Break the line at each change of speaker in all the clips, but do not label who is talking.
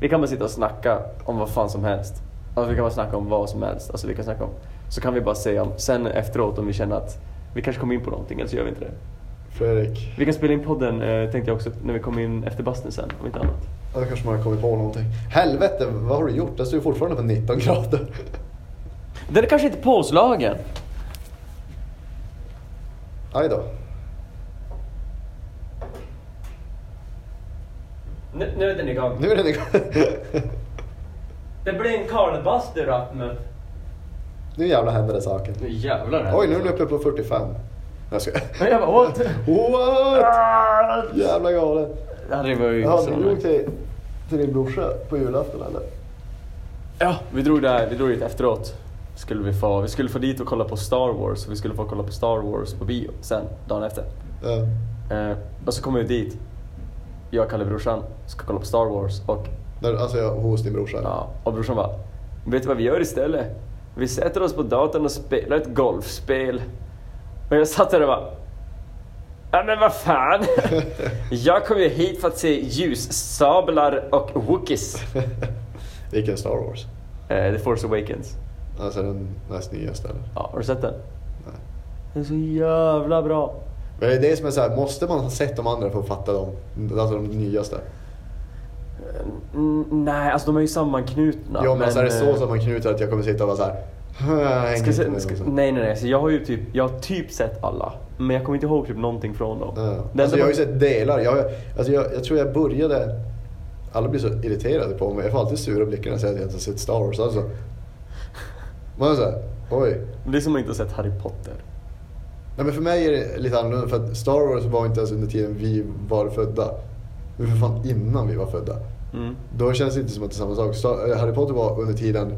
Vi kan bara sitta och snacka om vad fan som helst. Alltså vi kan bara snacka om vad som helst. Alltså vi kan snacka om... Så kan vi bara säga om... Sen efteråt om vi känner att vi kanske kommer in på någonting, eller så gör vi inte det.
Fredrik.
Vi kan spela in podden, eh, tänkte jag också, när vi kommer in efter bastun sen, om inte annat.
Ja, Då kanske man har kommit på någonting. Helvete, vad har du gjort? Det står ju fortfarande på 19 grader.
Den är kanske inte påslagen.
Aj då.
Nu, nu är den igång.
Nu är den igång.
Det blir en karlbastu rap nu.
Nu jävlar händer det saker.
Nu jävlar.
Oj, nu är den uppe på 45. Nej, Jag ska...
Men jag bara, Ah! what?
What? Jävla galet.
Det hade varit
Har
så
du
nice.
gjort till, till din brorsa på julafton eller?
Ja, vi drog, där, vi drog dit efteråt. Skulle vi, få, vi skulle få dit och kolla på Star Wars och vi skulle få kolla på Star Wars på bio sen, dagen efter.
Ja.
Eh, och så kommer vi dit. Jag och Kalle brorsan ska kolla på Star Wars och,
Där, alltså jag, hos din brorsa?
ja, och brorsan bara Vet du vad vi gör istället? Vi sätter oss på datorn och spelar ett golfspel. Och jag satt där och bara Ja men vad fan! jag kom ju hit för att se ljussablar och wookies.
Vilken Star Wars?
Eh, The Force Awakens.
Alltså den näst nyaste eller?
Ja, har du sett den?
Nej.
Den är så jävla bra.
Men det är det som är såhär, måste man ha sett de andra för att fatta dem? Alltså de nyaste?
Mm, nej, alltså de är ju sammanknutna.
Ja, men, alltså är det så
eh,
som man knyter att jag kommer sitta och vara såhär...
Ska jag säga, ska, nej, nej, nej. Så jag har ju typ, jag har typ sett alla. Men jag kommer inte ihåg typ någonting från dem. Det enda
Alltså, jag har ju
man-
sett delar. Jag, alltså, jag, jag tror jag började... Alla blir så irriterade på mig. Jag får alltid sura blickar när jag säger att jag inte har sett Star Wars. Alltså. Man är såhär, oj.
Det är som att inte ha sett Harry Potter.
Nej, men för mig är det lite annorlunda för att Star Wars var inte ens under tiden vi var födda. Det var för fan innan vi var födda.
Mm.
Då känns det inte som att det är samma sak. Star, eh, Harry Potter var under tiden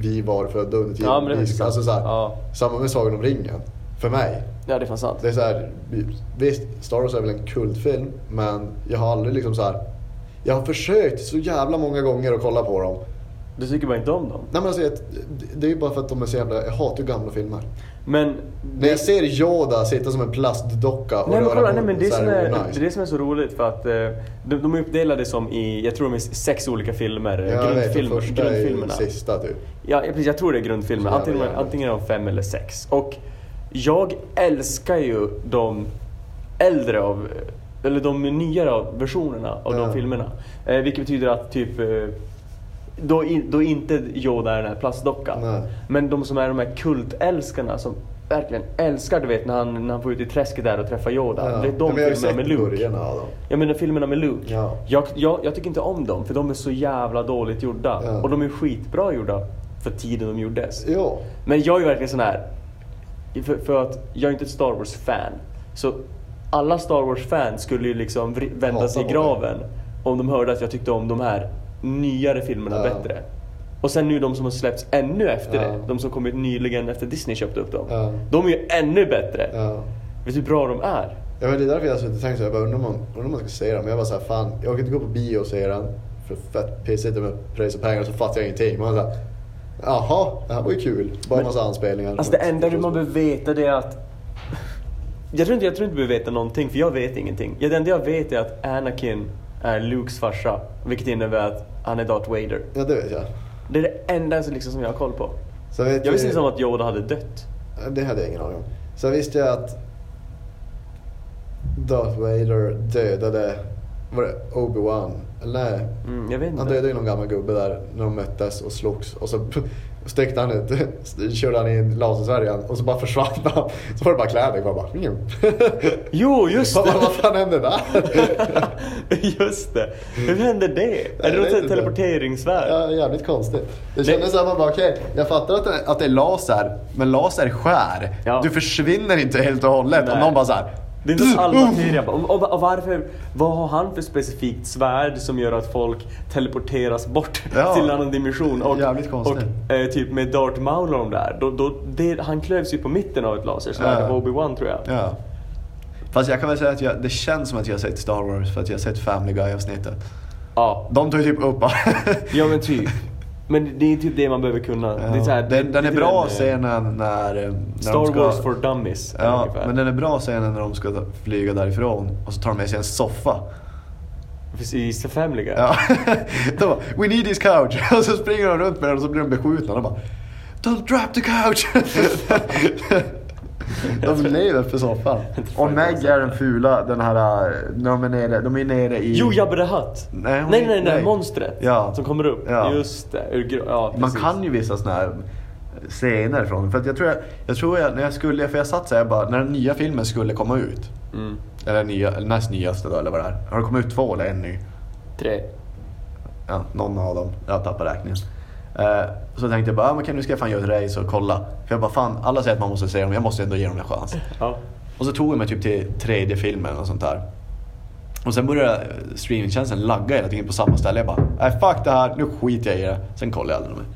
vi var födda. Under tiden
Ja, men det är
vi,
sant.
alltså, så här,
Ja.
Samma med Sagan om ringen. För mig.
Ja, det är fan sant.
Det är så här, visst, Star Wars är väl en kultfilm, men jag har aldrig liksom så här. Jag har försökt så jävla många gånger att kolla på dem.
Du tycker bara inte om dem.
Nej men alltså, jag, det är ju bara för att de är så jävla, jag hatar ju gamla filmer.
Men...
När jag ser Yoda sitta som en plastdocka och
Nej men
röra
kolla,
på
nej, men det, är
så
som
här,
är,
oh,
det är det som är så roligt för att eh, de, de är uppdelade som i, jag tror de är sex olika filmer.
Ja, jag vet,
grundfilmer,
den första är ju
grundfilmerna.
sista typ.
Ja, ja, precis. Jag tror det är grundfilmen.
Så jävla
Antingen,
jävla.
antingen är de fem eller sex. Och jag älskar ju de äldre av, eller de nyare av versionerna av
Ja.
de filmerna. Eh, vilket betyder att typ, eh, då, in, då inte Yoda är den här plastdockan.
Nej.
Men de som är de här kultälskarna som verkligen älskar, du vet när han, när han får ut i träsket där och träffar Yoda. Det är
Ja,
de
men jag har
filmerna
ju sett
med Luke.
början av dem.
Jag menar filmerna med Luke.
Ja.
Jag, jag, jag tycker inte om dem för de är så jävla dåligt gjorda.
Ja.
Och de är skitbra gjorda för tiden de gjordes.
Ja.
Men jag är verkligen sån här. För, för att jag är inte ett Star Wars-fan. Så alla Star Wars-fans skulle ju liksom vri- vända
Hata
sig i
på
graven om de hörde att jag tyckte om de här nyare filmerna
Ja.
bättre. Och sen nu de som har släppts ännu efter
Ja.
det. De som kommit nyligen efter Disney köpte upp dem.
Ja.
De är ju ännu bättre.
ja.
Vet du hur bra de är?
Ja, men det är därför jag har suttit och tänkt så här, jag bara, undrar om man, undrar om man ska se den. Men jag var så här, fan, jag kan inte gå på bio och se den. För fett pissigt med pröjs och pengar så fattar jag ingenting. Man var så här, jaha, det här var ju kul. Bara en
Men-
massa anspelningar.
Alltså det enda du man behöver veta det är att... Jag tror inte jag tror inte du behöver veta någonting för jag vet ingenting. Ja, det enda jag vet är att Anakin är Lukes farsa. Vilket innebär att han är Darth Vader.
Ja, det vet jag.
Det är det enda som, liksom, som jag har koll på.
Så vet
Jag visste
vi-
inte som att Yoda hade dött.
Det hade jag ingen aning om. Sen visste jag att Darth Vader dödade, var det Obi-Wan? Eller nej,
Mm, jag vet
han
inte.
dödade ju någon gammal gubbe där när de möttes och slogs. Och så sträckte han ut, körde han in lasersvärjan och så bara försvann han. Så var det bara kläder kvar bara. Mm.
Jo, just
Vad,
det!
vad fan hände där?
just det! Hur hände det?
jag
Är det
vet
någon
inte.
teleporteringsvärld?
Ja, jävligt konstigt. Jag kände såhär, man bara okej, jag fattar att det, att det är laser, men laser skär.
Ja.
Du försvinner inte helt och hållet.
Nej.
Och någon bara såhär,
Det är inte som all materia. Och, och, och varför, vad har han för specifikt svärd som gör att folk teleporteras bort
Ja.
till en annan dimension? Och,
Jävligt konstigt.
och eh, typ med Darth Maul och de där, då, då, det, han klövs ju på mitten av ett lasersvärd,
Ja.
av Obi-Wan tror jag.
Ja. Fast jag kan väl säga att jag, det känns som att jag har sett Star Wars för att jag har sett Family Guy-avsnittet.
Ja.
De tar ju typ upp
ja, men typ. Men det är typ det man behöver kunna. Det är så här,
den, den är
lite
bra
den, eh,
scenen när, eh, när
Star
de ska...
Wars for dummies. är det
Ja,
ungefär.
men den är bra scenen när de ska ta- flyga därifrån och så tar de med sig en soffa.
Precis, The Family Guy.
Ja. De bara, we need his couch. Och så springer de runt med den och så blir de beskjutna. De bara, don't drop the couch. de lever för soffan. Och Meg är den fula, den här, eh, när de är nere, de är nere i...
Jo, Jabba the Hutt!
Nej,
Nej,
hon-
nej, nej,
nej.
monstret
Ja.
som kommer upp.
Ja.
Just det, ur gro- ja,
Man
precis.
kan ju vissa såna här eh, scener från För att jag tror jag, jag tror jag, när jag skulle, för jag satt såhär bara, när den nya filmen skulle komma ut.
Mm.
Eller nya, eller näst nyaste då, eller vad det är. Har det kommit ut två eller en ny?
Tre.
Ja, någon av dem. Jag tappar räkningen. Eh, så tänkte jag bara, ah, men kan nu ska jag fan göra ett race och kolla. För jag bara, fan alla säger att man måste se dem, jag måste ändå ge dem en chans.
Ja.
Och så tog jag mig typ till tredje filmen och sånt där. Och sen började eh, streamingtjänsten lagga hela tiden på samma ställe. Jag bara, nej fuck det här, nu skiter jag i det. Sen kollade jag aldrig mer.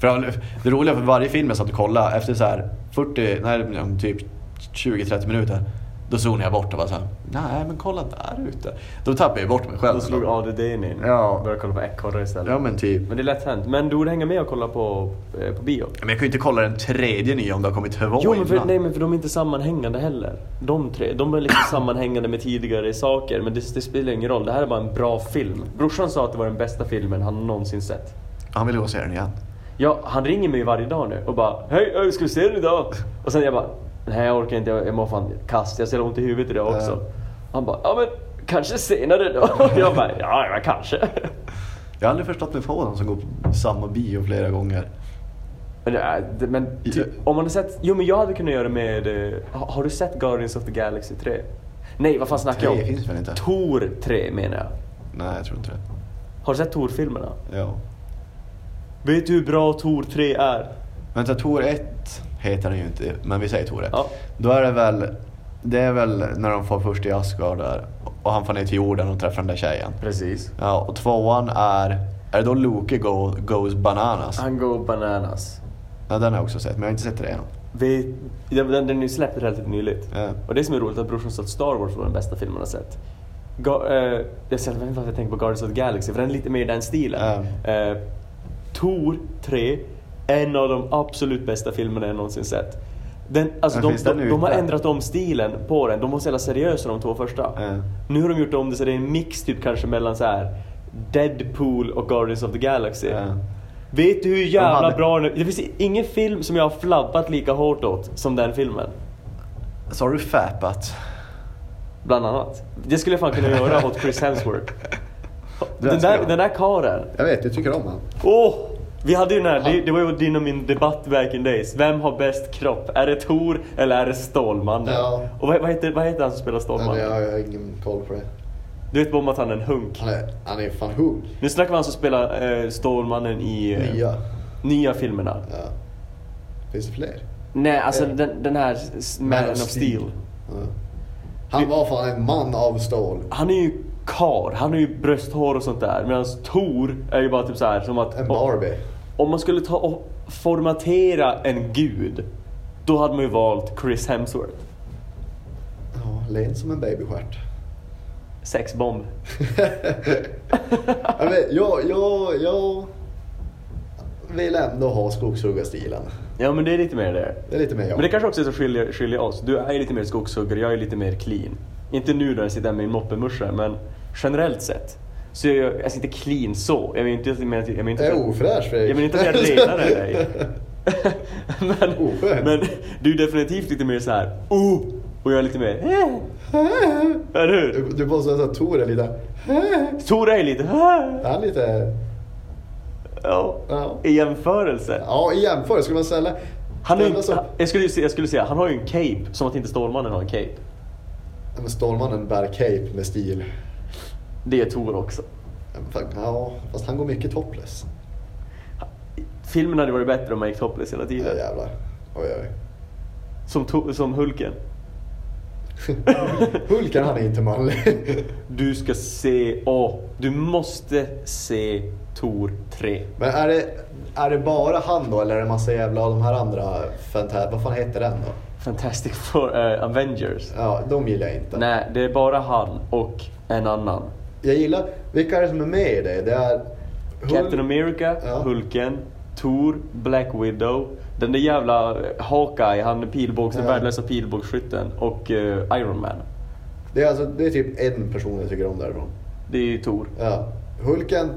För jag- det roliga för varje film jag satt och kollade, efter så här 40, nej men typ 20-30 minuter. Då zonade jag bort och bara såhär, nej men kolla där ute. Då tappade jag bort mig själv.
Då slog ADDn in.
Ja.
Började kolla på ekorre istället.
Ja men typ.
Men det är lätt hänt. Men du borde hänga med och kolla på, eh, på bio.
Men jag kan ju inte kolla den tredje nya om det har kommit två
Jo men för,
innan.
nej, men för de är inte sammanhängande heller. De tre, de är liksom sammanhängande med tidigare saker. Men det, det spelar ingen roll, det här är bara en bra film. Brorsan sa att det var den bästa filmen han någonsin sett.
Han vill gå och se den igen.
Ja, han ringer mig ju varje dag nu och bara Hej, ö, ska vi se den idag? Och sen jag bara Nej jag orkar inte, jag jag mår fan kast, jag ser ont i huvudet idag också.
Ja.
Han bara Ja men kanske senare då? Och jag bara Ja, ja kanske.
Jag har aldrig förstått mig på de som går på samma bio flera gånger.
Men, nej, det- men ty, om man har sett, jo men jag hade kunnat göra med, eh, ha- har du sett Guardians of the Galaxy 3? Nej vad fan snackar jag om?
Tre finns väl inte?
Tor 3 menar jag.
Nej, jag tror inte det.
Har du sett Tor-filmerna?
Ja.
Vet du hur bra Tor 3 är?
Vänta, Tor 1 heter den ju inte, men vi säger Tor 1.
Ja.
Då är det väl, det är väl när de får först i Asgard där och han får ner till jorden och träffar den där tjejen.
Precis.
Ja, och tvåan är, är det då Loke go, goes bananas?
Han går bananas.
Ja, den har jag också sett, men jag har inte sett det än.
Vi, den, den den är ju släppt relativt nyligt.
Ja.
Och det som är roligt är att brorsan sa att Star Wars var den bästa filmen han har sett. Ga, eh, jag ser- jag vet inte varför jag tänker på Guardians of the Galaxy, för den är lite mer i den stilen. Eh, Tor 3, en av de absolut bästa filmerna jag någonsin sett. Den, alltså
Men
de,
finns den
de, de har
ute?
ändrat om stilen på den. De var så jävla seriösa de två första.
Ja.
Nu har de gjort om det så det är en mix typ kanske mellan så här Deadpool och Guardians of the Galaxy.
Ja.
Vet du hur jävla
hade-
bra den är? Det finns ingen film som jag har flabbat lika hårt åt som den filmen.
Så har du fäpat?
Bland annat. Det skulle jag fan kunna göra åt Chris Hemsworth. Den
ska
där,
jag.
den där karen.
Jag vet, jag tycker om honom.
Åh! Vi hade ju den här, det, det var ju din och min debatt back in days. Vem har bäst kropp? Är det Thor eller är det Stålmannen?
Ja.
Och vad, vad, heter, vad heter han som spelar Stålmannen?
jag har ingen koll på det.
Du vet bara om att han är en hunk.
Han är, han är fan hung.
Nu snackar vi om han som spelar eh, Stålmannen i eh, nya filmerna.
Ja. Finns det fler?
Nej, alltså
Eh,
den, den här s- Man of Steel.
Ja. Han var fan en man av stål.
Han är ju kar, han har ju brösthår och sånt där. Medan Tor är ju bara typ så här som att...
En Barbie.
Om man skulle ta och formatera en gud, då hade man ju valt Chris Hemsworth.
Ja, len som en babystjärt.
Sexbomb.
jag, vet, jag, jag, jag vill ändå ha skogshuggarstilen.
Ja men det är lite mer det.
Det är lite mer jag.
Men det kanske också är så skiljer, skiljer oss. Du är ju lite mer skogshuggare, jag är lite mer clean. Inte nu när jag sitter här med min moppemusche, men generellt sett. Så är jag, jag sitter clean så. Jag menar inte, jag menar, jag menar inte
Jag
att-
är ofräsch Fredrik.
Jag menar inte att jag är renare än dig. men,
Oskön.
men du är definitivt lite mer så här. oh! Och jag är lite mer eh. Eller hur?
Du, du måste säga att Tor är lite...
Tora är lite "Ah."
Han är lite...
ja.
Ja.
I jämförelse.
Ja, i jämförelse skulle man ställa...
Han är, ju-
ställa så-
han- jag, skulle, ju se- jag skulle säga, han har ju en cape, som att inte Stålmannen har en cape.
Ja, Men Stålmannen bär cape med stil.
Det är Tor också.
Fan, Ja, fast han går mycket topless.
Filmen hade varit bättre om man gick topless hela
Ja,
tiden.
jävlar. Oj, oj.
Som, to- som Hulken.
Hulken han är inte manlig.
Du ska se, åh, du måste se Tor 3.
Men är det, är det bara han då eller är det massa jävla av de här andra fantast... Vad fan heter den då?
Fantastic Four, eh, Avengers.
Ja, de gillar jag inte.
Nej, det är bara han och en annan.
Jag gillar... Vilka är det som är med i det? Det är... Hul-
Captain America,
Ja.
Hulken, Thor, Black Widow, den där jävla eh, Hawkeye, han pilbågs, den
Ja.
värdelösa pilbågsskytten och eh, Iron Man.
Det är, alltså, det är typ en person jag tycker om därifrån.
det är ju Tor.
Ja. Hulken,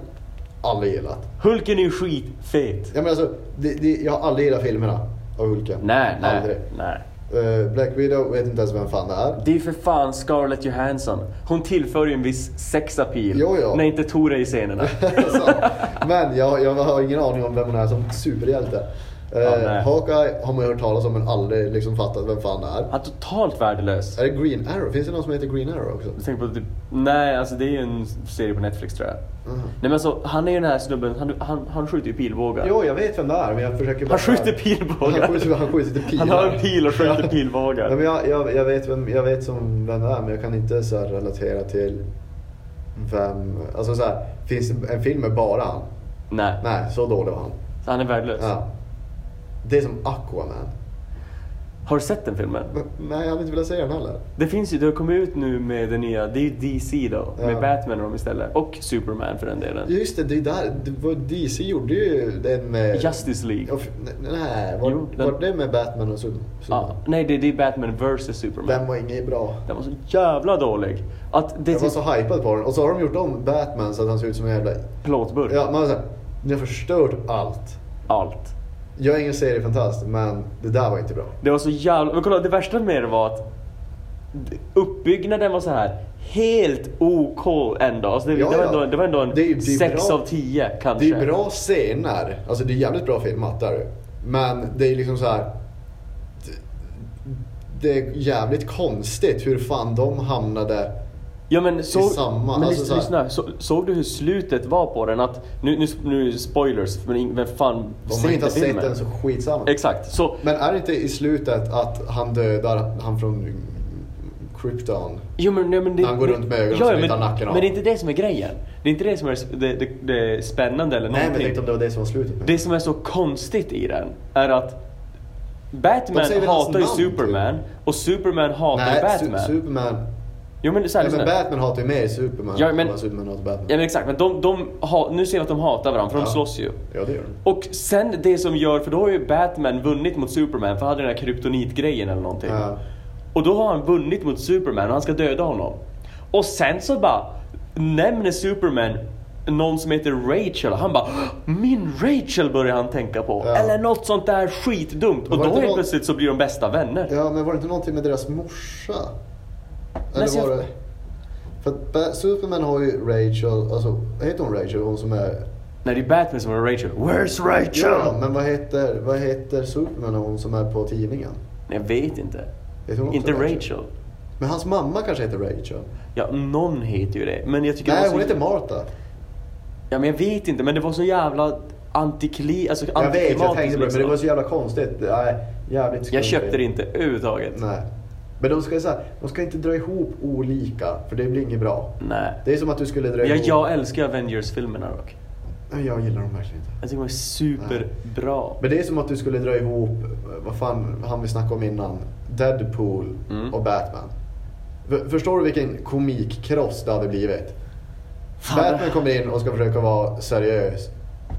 aldrig gillat.
Hulken är ju skitfet.
Ja, men alltså, det, det, jag har aldrig gillat filmerna av Hulken.
Nej,
Aldrig.
nej, nej.
Eh, Black Widow vet inte ens vem fan det är.
Det är ju för fan Scarlett Johansson. Hon tillför ju en viss sexappeal.
Jo, ja.
När inte Tor är i scenerna.
Alltså, men jag, jag har ingen aning om vem hon är som superhjälte. Eh,
Ja, nej.
Hawkeye har man ju hört talas om men aldrig liksom fattat vem fan det är.
Han är totalt värdelös.
Är det Green Arrow? Finns det någon som heter Green Arrow också?
Jag tänker på typ, nej alltså det är ju en serie på Netflix tror jag.
Mhm.
Nej men alltså han är ju den här snubben, han, han, han skjuter ju pilbågar.
Jo, jag vet vem det är men jag försöker bara...
han skjuter pilbågar.
Han skjuter, han skjuter pilar.
Han har en pil och skjuter
Ja.
pilbågar.
Nej, men jag, jag, jag vet, vem, jag vet som vem det är men jag kan inte så här relatera till vem... Alltså så här, finns det en film med bara han?
Nej,
Nej, så dålig var han.
Så han är värdelös.
Ja. Det är som Aquaman.
Har du sett den filmen?
Nej, jag hade inte velat se den heller.
Det finns ju, det har kommit ut nu med den nya, det är ju DC då,
Ja.
med Batman och dem istället. Och Superman för den delen.
Just det, det är där. det var- DC gjorde ju den... eh,
Justice League.
ja, f- Nej, var,
Jo, den-
var det med Batman och Superman?
Ja, nej, det, det är Batman vs Superman.
Den var inget bra.
Den var så jävla dålig. Att det är
Jag var
typ
så hypad på den. Och så har de gjort om Batman så att han ser ut som en jävla...
plåtburk.
Ja, man var såhär, ni har förstört allt.
Allt.
Jag är ingen seriefantast, men det där var inte bra.
Det var så jävla... Men kolla, det värsta med det var att uppbyggnaden var så här helt OK ändå. Alltså det,
Ja,
det, var
ja.
ändå det var ändå
Det är ju-
en
det är
6
bra.
av 10 kanske.
Det är bra scener. Alltså det är jävligt bra filmat, där ju. Men det är liksom så här. det- Det är jävligt konstigt hur fan de hamnade...
Ja men, så,
samma,
men
alltså
lys-
så här.
lyssna, så, såg du hur slutet var på den? Att, nu, nu, nu är det spoilers, men ing- vem fan
Om man inte har sett den så skitsamma.
Exakt, så
Men är det inte i slutet att han dödar han från Krypton?
Jo, men, nej, men det,
Han går runt med ögonen
Ja, ja,
som inte
men-
har nacken av.
Men det är inte det som är grejen. Det är inte det som är det, det, det är spännande eller
Nej, men jag
någonting.
tänkte om det var det som var slutet.
det som är så konstigt i den är att Batman
De säger väl hans
hatar ju
namn, typ.
Superman och Superman hatar
Nej,
Batman.
Su- Superman.
jo men så här,
Ja, men
lyssna.
Batman hatar ju mer Superman
Ja,
än
men-
vad Superman hatar Batman.
Ja men exakt, men de, de ha, nu ser vi att de hatar varandra för de
Ja.
slåss ju.
Ja, det gör de.
Och sen det som gör, för då har ju Batman vunnit mot Superman för han hade den här kryptonitgrejen eller någonting.
Ja.
Och då har han vunnit mot Superman och han ska döda honom. Och sen så bara nämner Superman någon som heter Rachel och han bara Min Rachel börjar han tänka på.
Ja.
Eller något sånt där skitdumt. Och
var
då
det inte
helt
någon-
plötsligt så blir de bästa vänner.
Ja, men var det inte någonting med deras morsa?
Nej,
Eller
så jag-
var det... För att Ba- Superman har ju Rachel, alltså heter hon Rachel? Hon som är...
Nej det är Batman som är Rachel. Where's Rachel?
Ja, men vad heter, vad heter Superman och hon som är på tidningen?
Nej, jag vet inte.
Heter hon också
Inte
Rachel?
Rachel.
Men hans mamma kanske heter Rachel?
Ja, någon heter ju det. Men jag tycker det var
Nej,
så-
hon heter Martha.
Ja men jag vet inte, men det var så jävla antikli... Alltså
Jag vet, jag
antiklimatiskt
tänkte på det, men det
liksom.
var så jävla konstigt. Nej, jävligt skumt.
Jag köpte det inte överhuvudtaget. Nej.
Nej. Men de ska, så här, de ska inte dra ihop olika, för det blir inget bra. Det är som att du skulle dra
Jag,
ihop...
jag älskar Avengers-filmerna dock.
Nej, jag gillar dem verkligen inte.
Jag tycker de är superbra.
Men det är som att du skulle dra ihop, eh, vad fan han vi snackade om innan, Deadpool
Mm.
och Batman. F- Förstår du vilken komikkross det hade blivit?
Fan,
Batman
det-
kommer in och ska försöka vara seriös.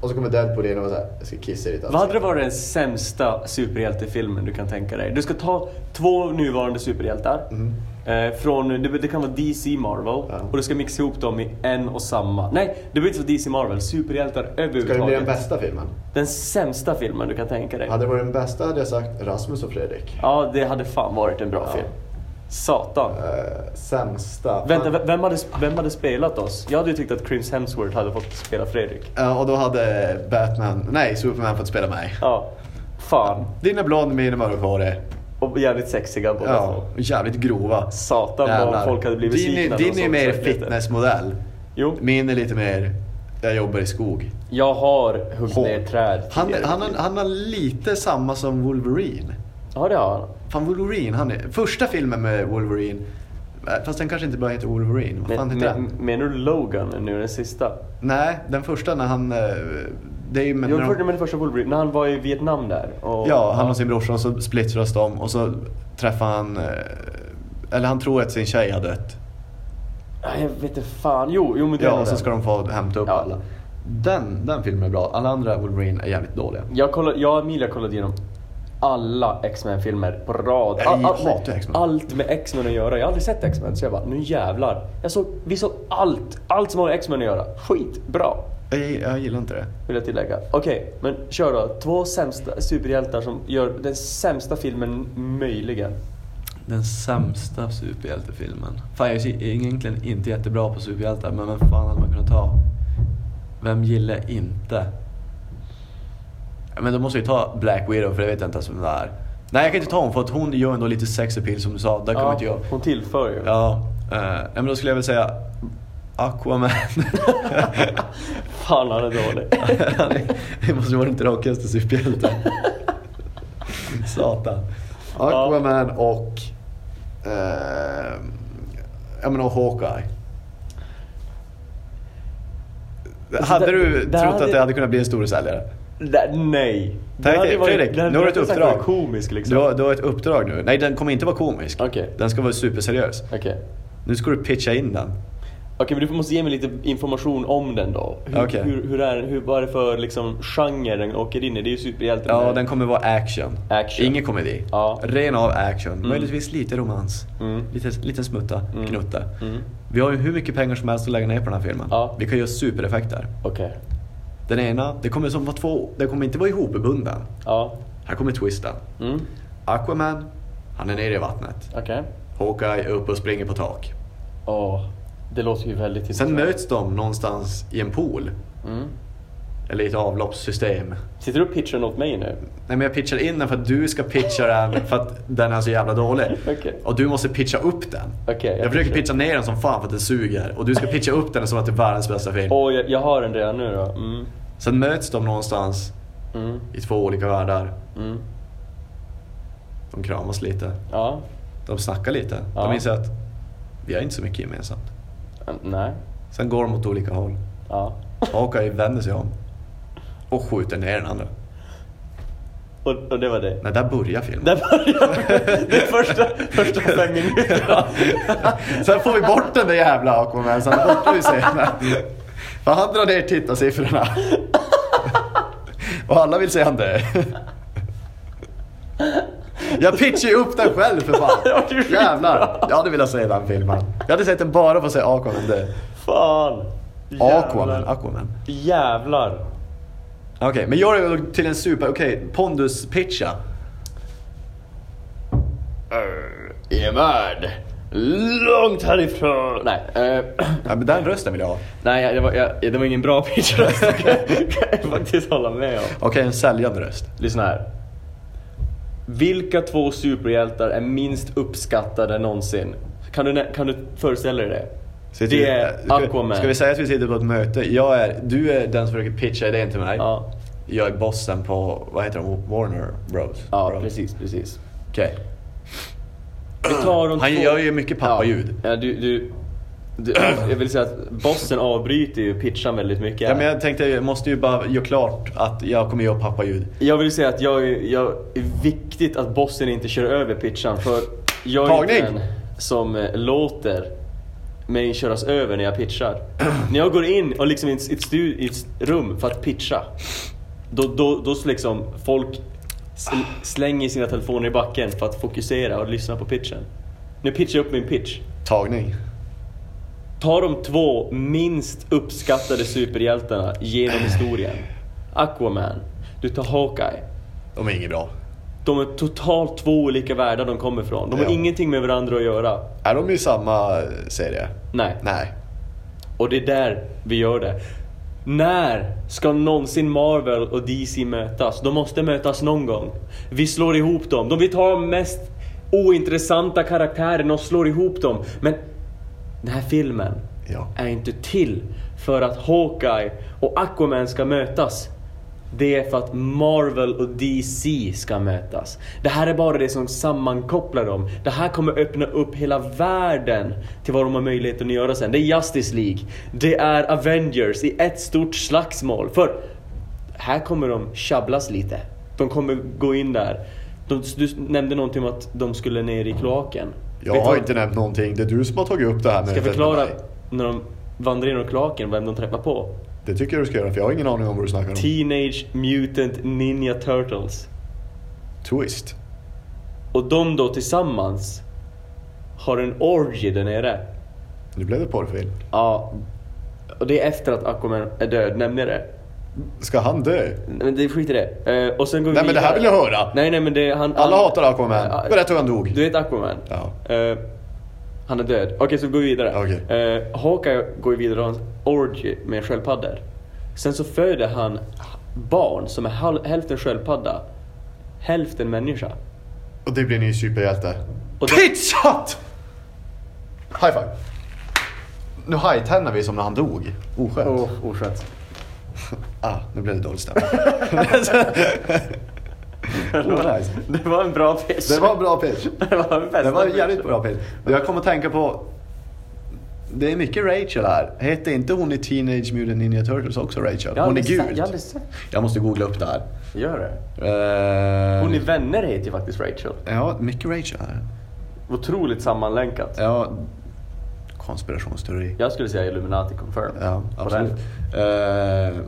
Och så kommer Deadpool in och bara såhär, jag ska kissa i ditt
Vad hade det varit den sämsta superhjältefilmen du kan tänka dig? Du ska ta två nuvarande superhjältar.
Mm.
Eh, från, det, det kan vara DC Marvel
Ja.
och du ska mixa ihop dem i en och samma. Nej, det behöver inte vara DC Marvel. Superhjältar överhuvudtaget.
Ska det bli den bästa filmen?
Den sämsta filmen du kan tänka dig.
Hade det varit den bästa hade jag sagt Rasmus och Fredrik.
Ja, det hade fan varit en bra
Ja.
film. Satan.
Eh, sämsta.
Vänta,
Men-
v- vem hade, vem hade spelat oss? Jag hade ju tyckt att Chris Hemsworth hade fått spela Fredrik.
Ja, Eh, och då hade Batman, nej Superman fått spela mig.
Ja, fan.
Din är blond, min är mörkhårig.
Och jävligt sexiga båda
Ja,
två.
och jävligt grova.
Satan vad
Jävlar.
folk hade blivit
din,
besvikna. när de
Din är ju
såg
mer
Fredrik.
fitnessmodell.
Jo,
Min är lite mer, jag jobbar i skog.
jag har huggit
Hår.
ner träd
Han,
tidigare.
han, har- han har lite samma som Wolverine.
Ja, det har han.
Fan Wolverine, han är, första filmen med Wolverine, eh, fast den kanske inte bara heter Wolverine, vad fan
Men,
heter
men,
den?
menar du Logan nu, den sista?
Nej, den första när han, eh, det är ju men,
Jo,
när
för,
de-
men det första Wolverine, när han var i Vietnam där. Och,
Ja, han och sin brorsa och så splittras de och så träffar han, eh, eller han tror att sin tjej har dött.
Ja, Jag vet inte fan. Jo, jo men det
Ja,
var
och så
den.
ska de få hämta upp
Ja.
alla. Den, den filmen är bra, alla andra Wolverine är jävligt dåliga.
Jag, kollade, jag och Emilia kollade igenom alla X-Men-filmer på rad.
Jag
allt, med-
hatar X-Men.
allt med X-Men att göra. Jag har aldrig sett X-Men så jag bara, nu jävlar. Jag såg, vi såg allt, allt som har med X-Men att göra. Skitbra,
Jag, jag gillar inte det.
vill jag tillägga. Okej, men kör då. Två sämsta superhjältar som gör den sämsta filmen möjligen.
Den sämsta superhjältefilmen. Fan, jag är ju egentligen inte jättebra på superhjältar, men vem fan hade man kunnat ta? Vem gillar inte? Ja, Men då måste vi ta Black Widow, för det vet jag inte ens vem det är. Nej, jag kan inte ta hon, för att hon gör ändå lite sex appeal som du sa. Där kommer inte jag.
hon tillför ju.
Ja, eh, nej, men då skulle jag väl säga Aquaman.
Fan, han är dålig.
Han är- det måste vara den tråkigaste superhjälten. Satan.
Aquaman
och... Eh, jag menar Hawkeye. hade
Alltså, det-
du
det
trott att
hade-
det hade kunnat bli en stor säljare?
Nej, nej. Det
Tänk
hade
dig,
varit-
Fredrik,
det hade
nu har du ett
varit sagt
uppdrag.
komisk liksom.
Du har, du har ett uppdrag nu. Nej, den kommer inte vara komisk.
Okej.
Den ska vara superseriös.
Okej.
Nu ska du pitcha in den.
Okej, men du måste ge mig lite information om den då. Hur,
Okej.
hur, hur är den? Hur, vad är det för liksom, genre den åker in i? Det är ju superhjälten.
Ja,
där.
den kommer vara action.
Action.
Ingen komedi.
Ja.
Ren av action. Möjligtvis lite romans.
Mm.
Lite, liten smutta, knutta.
Mm.
Vi har ju hur mycket pengar som helst att lägga ner på den här filmen.
Ja.
Vi kan göra supereffekter.
Okej.
Den ena, det kommer som vara två, det kommer inte vara ihopbunden.
Ja.
Här kommer twisten.
Mm.
Aquaman, han är nere i vattnet.
Okej.
Hawkeye är uppe och springer på tak.
Åh, det låter ju väldigt
Sen
intressant.
möts de någonstans i en pool.
Mm.
Eller i ett avloppssystem.
Sitter du och pitchar något mig nu?
Nej men jag pitchar in den för att du ska pitcha den för att den är så jävla dålig.
Okej.
Och du måste pitcha upp den.
Okej,
jag,
jag
försöker
pitchar.
pitcha ner den som fan för att den suger. Och du ska pitcha upp den som att det är världens bästa film.
Åh, jag, jag har den redan nu då. Mm.
Sen möts de någonstans
Mm.
i två olika världar.
Mm.
De kramas lite.
Ja.
De snackar lite.
Ja.
De inser att vi har inte så mycket gemensamt.
Mm, Nej.
Sen går de åt olika håll.
Ja.
Hawkeye vänder sig om. Och skjuter ner den andra.
Och, och det var det.
Nej, där börjar filmen.
Där började det första, första fem minuterna.
Sen får vi bort den där jävla Aquaman, så han är borta ur scenen. För han drar ner tittarsiffrorna. Och alla vill se han dö. Jag pitchar ju upp den själv för
Det var ju
fan.
skitbra.
Jävlar. Jag hade velat se den filmen. Jag hade sett den bara för att se Aquaman dö.
Fan.
Aquaman,
Jävlar.
Aquaman.
Jävlar.
Okej, men gör det då till en super... Okej, pondus-pitcha.
Emad. Eh, Långt härifrån. Nej, eh,
Ja, men den rösten vill jag ha.
nej jag- det, var, jag, det var ingen bra pitchröst. kan jag- kan jag faktiskt hålla med om.
Okej, en säljande röst.
Lyssna här. Vilka två superhjältar är minst uppskattade någonsin? Kan du, nä- kan du föreställa dig det?
Sitter
Det
vi-
är
ska,
Aquaman.
Ska vi säga att vi sitter på ett möte? Jag är, du är den som försöker pitcha idén till mig.
Ja,
Jag är bossen på, vad heter de, Warner Bros?
ja
Bros.
precis, precis.
Okej.
Vi tar de
Han
två...
gör ju mycket pappaljud.
Ja, du, du, du, jag vill säga att bossen avbryter ju pitchen väldigt mycket.
Ja. men jag tänkte, jag måste ju bara göra klart att jag kommer göra pappaljud.
Jag vill säga att jag, är- jag är viktigt att bossen inte kör över pitchen för jag är inte
Tagning!
den som eh, låter mig köras över när jag pitchar. när jag går in och liksom i ett, i ett, stu, i ett s- rum för att pitcha, då, då, då s- liksom folk sl, slänger sina telefoner i backen för att fokusera och lyssna på pitchen. Nu pitchar jag upp min pitch.
Tagning.
Ta de två minst uppskattade superhjältarna genom historien. Aquaman. Du tar Hawkeye.
De är inget bra.
De är totalt två olika världar de kommer ifrån. De har
Ja.
ingenting med varandra att göra.
Är de i samma serie?
Nej.
Nej.
Och det är där vi gör det. När ska någonsin Marvel och DC mötas? De måste mötas någon gång. Vi slår ihop dem. De, vi tar de mest ointressanta karaktärerna och slår ihop dem. Men den här filmen
Ja.
är inte till för att Hawkeye och Aquaman ska mötas. Det är för att Marvel och DC ska mötas. Det här är bara det som sammankopplar dem. Det här kommer öppna upp hela världen till vad de har möjligheten att göra sen. Det är Justice League. Det är Avengers i ett stort slagsmål. För här kommer de tjabblas lite. De kommer gå in där. De, du nämnde någonting om att de skulle ner i kloaken.
Jag
Vet du
har
vad-
inte nämnt någonting. Det är du som har tagit upp det här
Ska
mötet
jag
med
förklara
mig.
när de vandrar genom kloaken vem de träffar på?
Det tycker jag du ska göra för jag har ingen aning om vad du snackar om.
Teenage Mutant Ninja Turtles.
Twist.
Och de då tillsammans har en orgy där nere.
Nu blev det porrfilm.
Ja. Och det är efter att Aquaman är död, nämner jag det.
Ska han dö?
Nej, Men det skit i det. Eh, och sen går vi
Nej men det här vill jag höra!
Nej nej men det han...
Alla
han,
hatar Aquaman.
Ja,
Berätta hur han dog.
Du vet Aquaman?
Ja.
Eh, han är död. Okej, så vi går vidare.
Okej.
Eh, Hawkeye går ju vidare och har en orgy med sköldpaddor. Sen så föder han barn som är hal- hälften sköldpadda, hälften människa.
Och det blir en ny superhjälte.
Och det-
Tits hot! High five! Nu high-tennar vi som när han dog. Oskönt.
Oh. oskönt.
Ah, nu blev det dålig stämning. Oh, nice.
Det var en bra pitch.
Det var en bra pitch.
det var en bästa
Det var en
pitch.
jävligt bra pitch. Jag kom att tänka på... Det är mycket Rachel här. Hette inte hon i Teenage Mutant Ninja Turtles också Rachel?
Jag har
Hon är
aldrig sett-
gul.
Jag har aldrig sett.
Jag måste googla upp det här.
Gör det.
Eh,
Hon är vänner heter ju faktiskt Rachel.
Ja, mycket Rachel här.
Otroligt sammanlänkat.
Ja, konspirationsteori.
Jag skulle säga Illuminati confirm.
Ja,
På
absolut.
den.
Eh,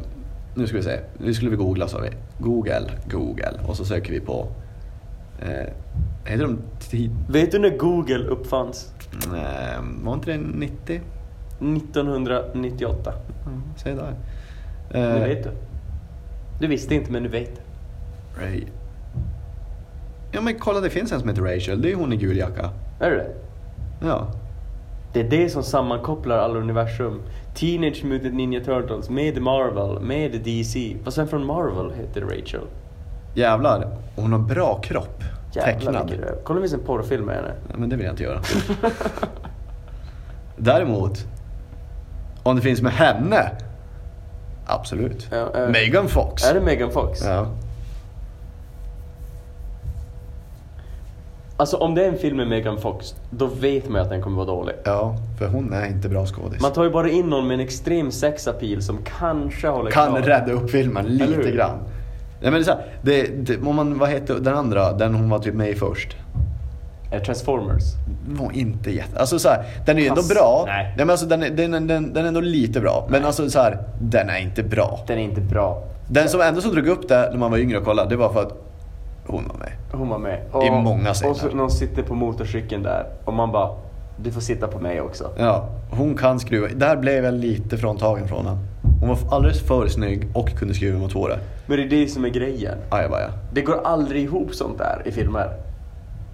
nu ska vi se. Nu skulle vi googla sa vi. Google, Google. Och så söker vi på... Uh, heter de... Ti-
Vet du när Google uppfanns?
eh, var inte det 90?
1998.
Mm, säg där.
Nu
Eh,
vet du. Du visste inte men nu vet du.
Ray. Ja men kolla det finns en som heter Rachel. Det är hon i gul jacka.
Är det det?
Ja.
Det är det som sammankopplar alla universum. Teenage Mutant Ninja Turtles med Marvel, med DC. Och sen från Marvel heter Rachel.
Jävlar. Hon har bra kropp.
Jävlar
Tecknad.
vilken röv. Kolla om det finns en porrfilm med henne.
Nej, men det vill jag inte göra. Däremot, om det finns med henne? Absolut.
Ja, eh,
Megan Fox.
Är det Megan Fox?
Ja.
Alltså om det är en film med Megan Fox, då vet man ju att den kommer vara dålig.
ja, för hon är inte bra skådis.
Man tar ju bara in någon med en extrem sexappeal som kanske håller
kan
kvar.
rädda upp filmen
Eller
lite
hur?
grann. Nej, men det är så här, det, det, om man, vad hette den andra? Den hon var typ med i först.
Eh, Transformers.
var inte jätte... Alltså så här, den är ju ändå
Pass.
bra.
Nej.
men alltså, den, är, den, den, den är ändå lite bra. Men alltså så här, den är inte bra.
Den är inte bra.
Den som ändå som drog upp det när man var yngre och kollade, det var för att hon var med.
Hon var med.
Det är många scener.
Och så någon sitter på motorcykeln där och man bara, du får sitta på mig också.
Ja, hon kan skruva. Där blev jag lite fråntagen från henne. Hon var alldeles för snygg och kunde skruva mot håret.
Men det är det som är grejen.
Ajabaja.
Det går aldrig ihop sånt där i filmer.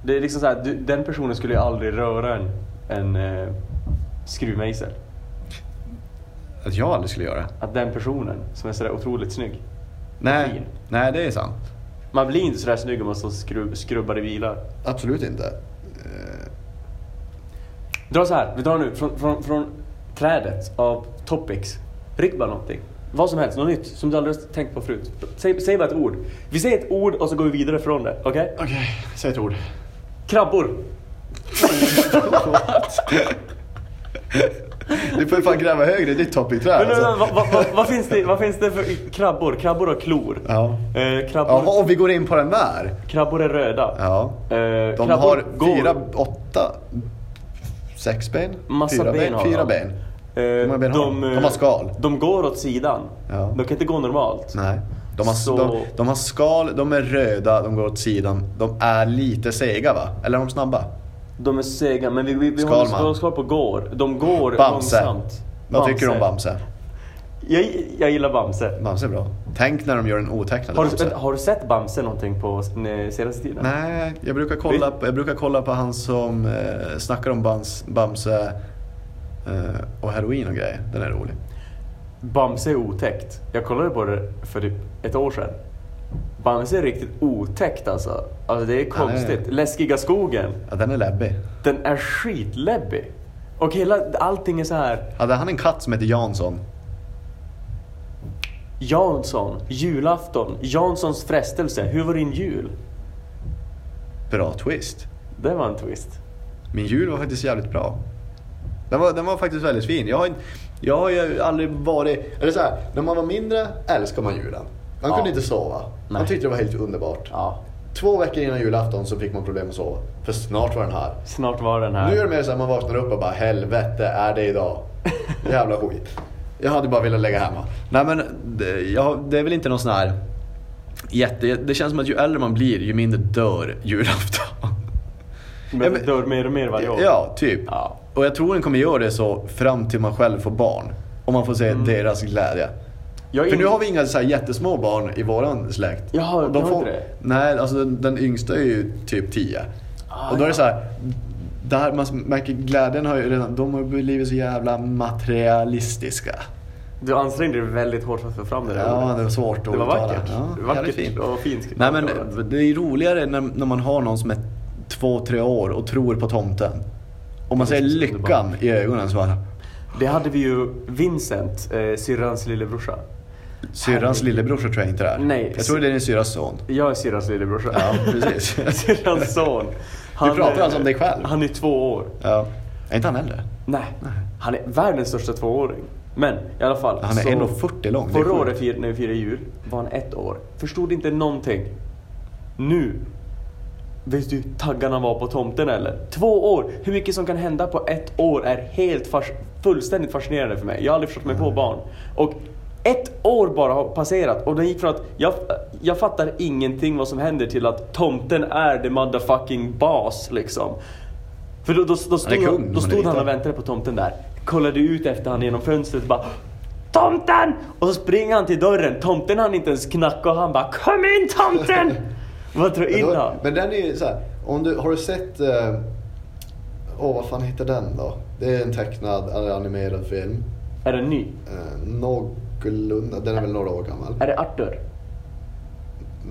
Det är liksom så här, du, den personen skulle ju aldrig röra en, en eh, skruvmejsel.
Att jag aldrig skulle göra det.
Att den personen som är sådär otroligt snygg.
Nej,
Fin.
nej, det är sant.
Man blir inte sådär snygg om man står och skrubb, skrubbar i bilar.
Absolut inte. Eh,
Dra så här, vi drar nu från, från, från trädet av topics. Ryck bara någonting. Vad som helst, något nytt som du aldrig har tänkt på förut. Säg, säg bara ett ord. Vi säger ett ord och så går vi vidare från det. Okej?
Okej, säg ett ord.
Krabbor.
Du får ju fan gräva högre i ditt toppingträd
Men, men, men,
alltså.
vad, vad, vad, vad, finns det, vad finns det för krabbor? Krabbor har klor.
Ja.
Eh, krabbor,
Jaha, och vi går in på den där.
krabbor är röda.
Ja.
Eh,
De
krabbor
har
går.
fyra, åtta, sex ben?
Massa
fyra
ben har
Fyra
de.
ben.
Eh,
Hur många ben har de?
eh,
De har skal.
De går åt sidan.
Ja.
De kan inte gå normalt.
Nej. De har,
Så-
de, de har skal, de är röda, de går åt sidan. De är lite sega va? Eller är de snabba?
De är sega, men vi, vi, vi
Skalman.
håller oss kvar på går. De går
Bamse.
långsamt.
Vad tycker du om Bamse?
Jag, jag gillar Bamse.
Bamse är bra. Tänk när de gör en otecknad
Har du,
Bamse.
vänta, har du sett Bamse någonting på s- n- senaste tiden?
Nej, jag brukar, kolla, på- jag brukar kolla på han som eh, snackar om Bams, Bamse eh, och heroin och grejer. Den är rolig.
Bamse är otäckt. Jag kollade på det för typ ett år sedan. Bamse är riktigt otäckt alltså. Alltså det är konstigt.
Ja,
Läskiga skogen.
Ja, den är läbbig.
Den är skitläbbig. Och hela, allting är så här.
Hade han en katt som heter Jansson?
Jansson, julafton, Janssons frestelse, hur var din jul?
Bra twist.
Det var en twist.
Min jul var faktiskt jävligt bra. Den var, den var faktiskt väldigt fin. Jag har, inte- jag har ju aldrig varit...
Eller så här, när man var mindre älskade man julen. Man
Ja.
kunde inte sova. Man
Nej.
tyckte det var helt underbart.
Ja.
Två veckor innan julafton så fick man problem att sova. För snart var den här.
Snart var den här.
Nu är det mer så att man vaknar upp och bara helvete, är det idag? Jävla skit. Jag hade bara velat lägga hemma.
Nej men det, jag, har- det är väl inte någon sån här...
Jätte, det känns som att ju äldre man blir, ju mindre dör julafton.
Men
men-
det dör mer och mer varje år.
Ja, typ.
Ja.
Och jag tror den kommer göra det så fram till man själv får barn. Om man får se
Mm.
deras glädje.
Jag är
För nu
in-
har vi inga så här jättesmå barn i våran släkt.
Jaha,
Och
ni har
får,
inte det?
Nej, alltså den, den yngsta är ju typ 10.
Ah,
och då är det
ja.
så här, där man märker glädjen har ju redan, de har ju blivit så jävla materialistiska.
Du ansträngde dig väldigt hårt för att få fram det där
Ja,
ordet.
det var svårt att
Det var
uttala.
vackert.
Ja,
Det var
jävligt
vackert
fint.
och fint.
Nej men
uttalat.
det är roligare när, när man har någon som är två, tre år och tror på tomten. Om man ser
Precis,
lyckan
underbart.
i ögonen så bara,
Det hade vi ju Vincent, eh, syrrans lillebrorsa.
syrrans lillebrorsa tror jag inte det är.
Nej,
jag tror det är din syrras son.
Jag är syrrans lillebrorsa.
Ja, precis.
syrrans son.
pratar
är-
alltså om dig själv.
Han är två år.
ja. Är inte han äldre?
Nej, han är världens största tvååring. Men i alla fall.
Han är
så-
1,40 lång. Det är
Alltså, Förra
sjukt.
året fir- när vi firade jul var han ett år. Förstod inte någonting. Nu. Vet du hur taggarna var på tomten eller? Två år! Hur mycket som kan hända på ett år är helt fas- fullständigt fascinerande för mig. Jag har aldrig förstått mig på barn. Och ett år bara har passerat och det gick från att jag, jag fattar ingenting vad som händer till att tomten är the motherfucking boss liksom. För då, då, då
är
stod,
kung,
han,
han
då
är
stod han
liten.
och väntade på tomten där. Kollade ut efter han genom fönstret och bara Tomten! Och så springer han till dörren. Tomten hann inte ens knacka och han bara Kom in tomten! Vad tror
Men,
in
då,
han?
men den är ju såhär, om du, har du sett... eh, Åh, vad fan heter den då? Det är en tecknad eller animerad film.
Är den ny?
Eh, någorlunda, den är väl några år gammal.
Är det Arthur?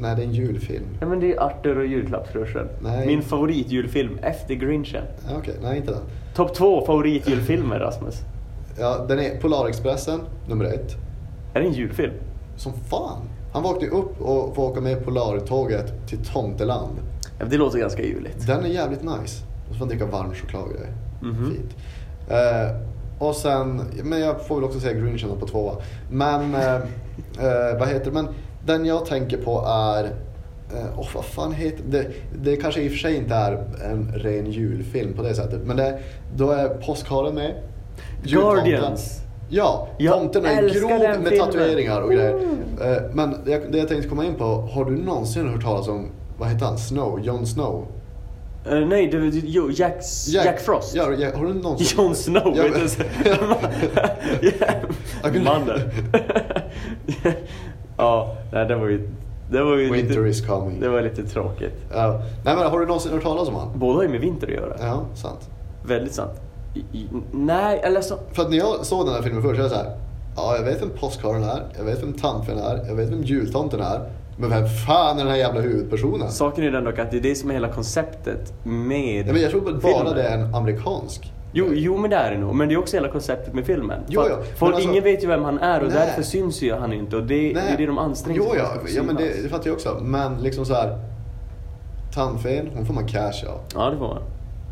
Nej, det är en julfilm.
Ja men det är Arthur och julklappsrörelsen.
Nej.
Min favoritjulfilm efter Grinchen.
Ja, Okej, nej inte den.
Topp två favoritjulfilmer Rasmus.
Ja, den är Polarexpressen, nummer ett.
Är det en julfilm?
Som fan! Han vaknade ju upp och får åka med Polartåget till Tomteland.
Ja, det låter ganska juligt.
Den är jävligt nice. Och så får man dricka varm choklad och grejer.
Mhm.
Fint. Eh, och sen, men jag får väl också säga Grinchen då på tvåa. Men, eh, eh, vad heter det? Men den jag tänker på är, eh, åh vad fan heter det? Det kanske i och för sig inte är en ren julfilm på det sättet. Men det, då är påskharen med. Jultomten.
Guardians.
Ja,
Jag
tomten är
älskar
grov
den
med
filmen. Mm.
tatueringar och grejer. Eh, Men det jag- det jag tänkte komma in på, har du någonsin hört talas om, vad heter han, Snow? Jon Snow?
Eh, nej, det, jo, Jack, Jack, Frost.
Ja, ja, har du någonsin...
Jon Snow,
Ja,
vet
men-
du. så- Mannen. ja, nej, det var ju... Det var ju
Winter
lite,
is coming.
Det var lite tråkigt.
Ja. nej men har du någonsin hört talas om han?
Båda har ju med vinter att göra.
Ja, sant.
Väldigt sant. I, i, nej, eller så...
För att när jag såg den här filmen först, jag var så här, ja jag vet vem påskharen är, jag vet vem tantfen är, jag vet vem jultomten är. Men vem fan är den här jävla huvudpersonen?
Saken är den dock att det är det som är hela konceptet med
Ja, men jag tror bara
filmen.
det är en amerikansk.
Jo, jo, men det är det nog. Men det är också hela konceptet med filmen.
Jo,
För
ja,
att
men
Folk,
alltså-
ingen vet ju vem han är och
Nej.
därför syns ju han inte. Och det, det är det de anstränger
Jo,
för
ja,
att han ska
ja men det,
synas.
det fattar jag också. Men liksom så här. Tandfen, hon får man cash av.
Ja, det får man.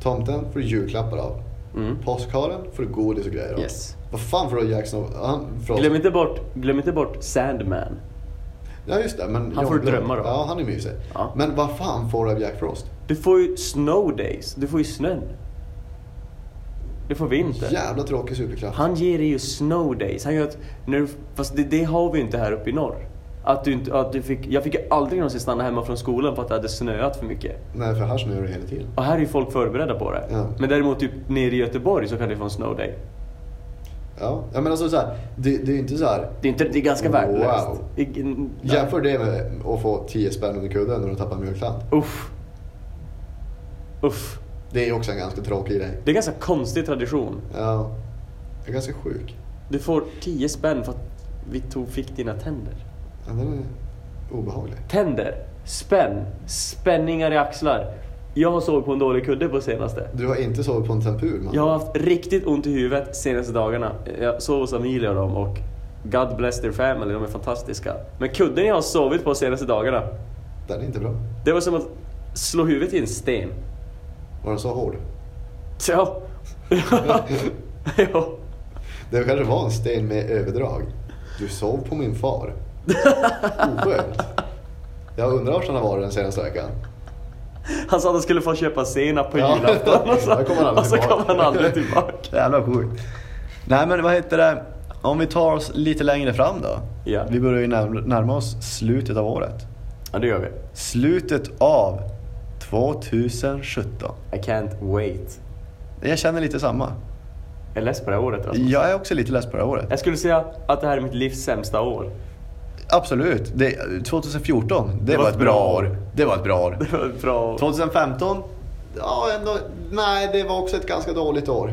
Tomten får du julklappar av.
Mm.
Påskharen får du godis och grejer av.
Yes.
Vad fan får du av Jack Snow? Han, för oss-
Glöm inte bort, glöm inte bort Sandman.
Ja just det. Men
Han får
John Blom-
drömmar då.
Ja, han är mysig.
Ja.
Men vad fan får du av Jack Frost?
Du får ju snow days, du får ju snön. Det får vi inte.
Jävla tråkig superkraft.
Han ger dig ju snow days. Han gör att, när du, fast det, det har vi ju inte här uppe i norr. Att du inte, att du fick, jag fick ju aldrig någonsin stanna hemma från skolan för att det hade snöat för mycket.
Nej, för här snurrar det hela tiden.
Och här är ju folk förberedda på det.
Ja.
Men däremot typ nere i Göteborg så kan du få en snow day.
Ja, ja men alltså så här, det, det är ju inte så här.
Det är, inte, det är ganska värdelöst.
Wow.
I- nej.
Jämför det med att få 10 spänn under kudden när du tappar mjölkland.
Uff. Uff.
Det är också en ganska tråkig grej.
Det är en ganska konstig tradition.
Ja, jag är ganska sjuk.
Du får 10 spänn för att vi tog, fick dina tänder.
Ja, den är obehaglig.
Tänder, spänn, spänningar i axlar. Jag har sovit på en dålig kudde på senaste.
Du har inte sovit på en tempur man.
Jag har haft riktigt ont i huvudet senaste dagarna. Jag sov hos Amelia och dem och God bless their family, de är fantastiska. Men kudden jag har sovit på senaste dagarna,
Den är inte bra.
det var som att slå huvudet i en sten.
Var den så hård?
Så, ja. ja.
Det kanske var en sten med överdrag. Du sov på min far. Oskönt. Jag undrar vart han har varit den senaste veckan.
Han sa att han skulle få köpa senap på
Ja.
julafton och så
Där kom han aldrig
och så
tillbaka.
kom han aldrig tillbaka.
Jävla sjukt. Nej men vad heter det? Om vi tar oss lite längre fram då.
Ja.
Vi börjar ju närm- närma oss slutet av året.
Ja, det gör vi.
Slutet av 2017.
I can't wait.
Jag känner lite samma.
Jag är less på det här året Rasmus.
Jag är också lite less på det här året.
Jag skulle säga att det här är mitt livs sämsta år.
Absolut. Det, 2014, det, var, ett bra, år. Det var ett bra år.
Det var ett bra år.
2015,
Ja, ändå. Nej, det var också ett ganska dåligt år.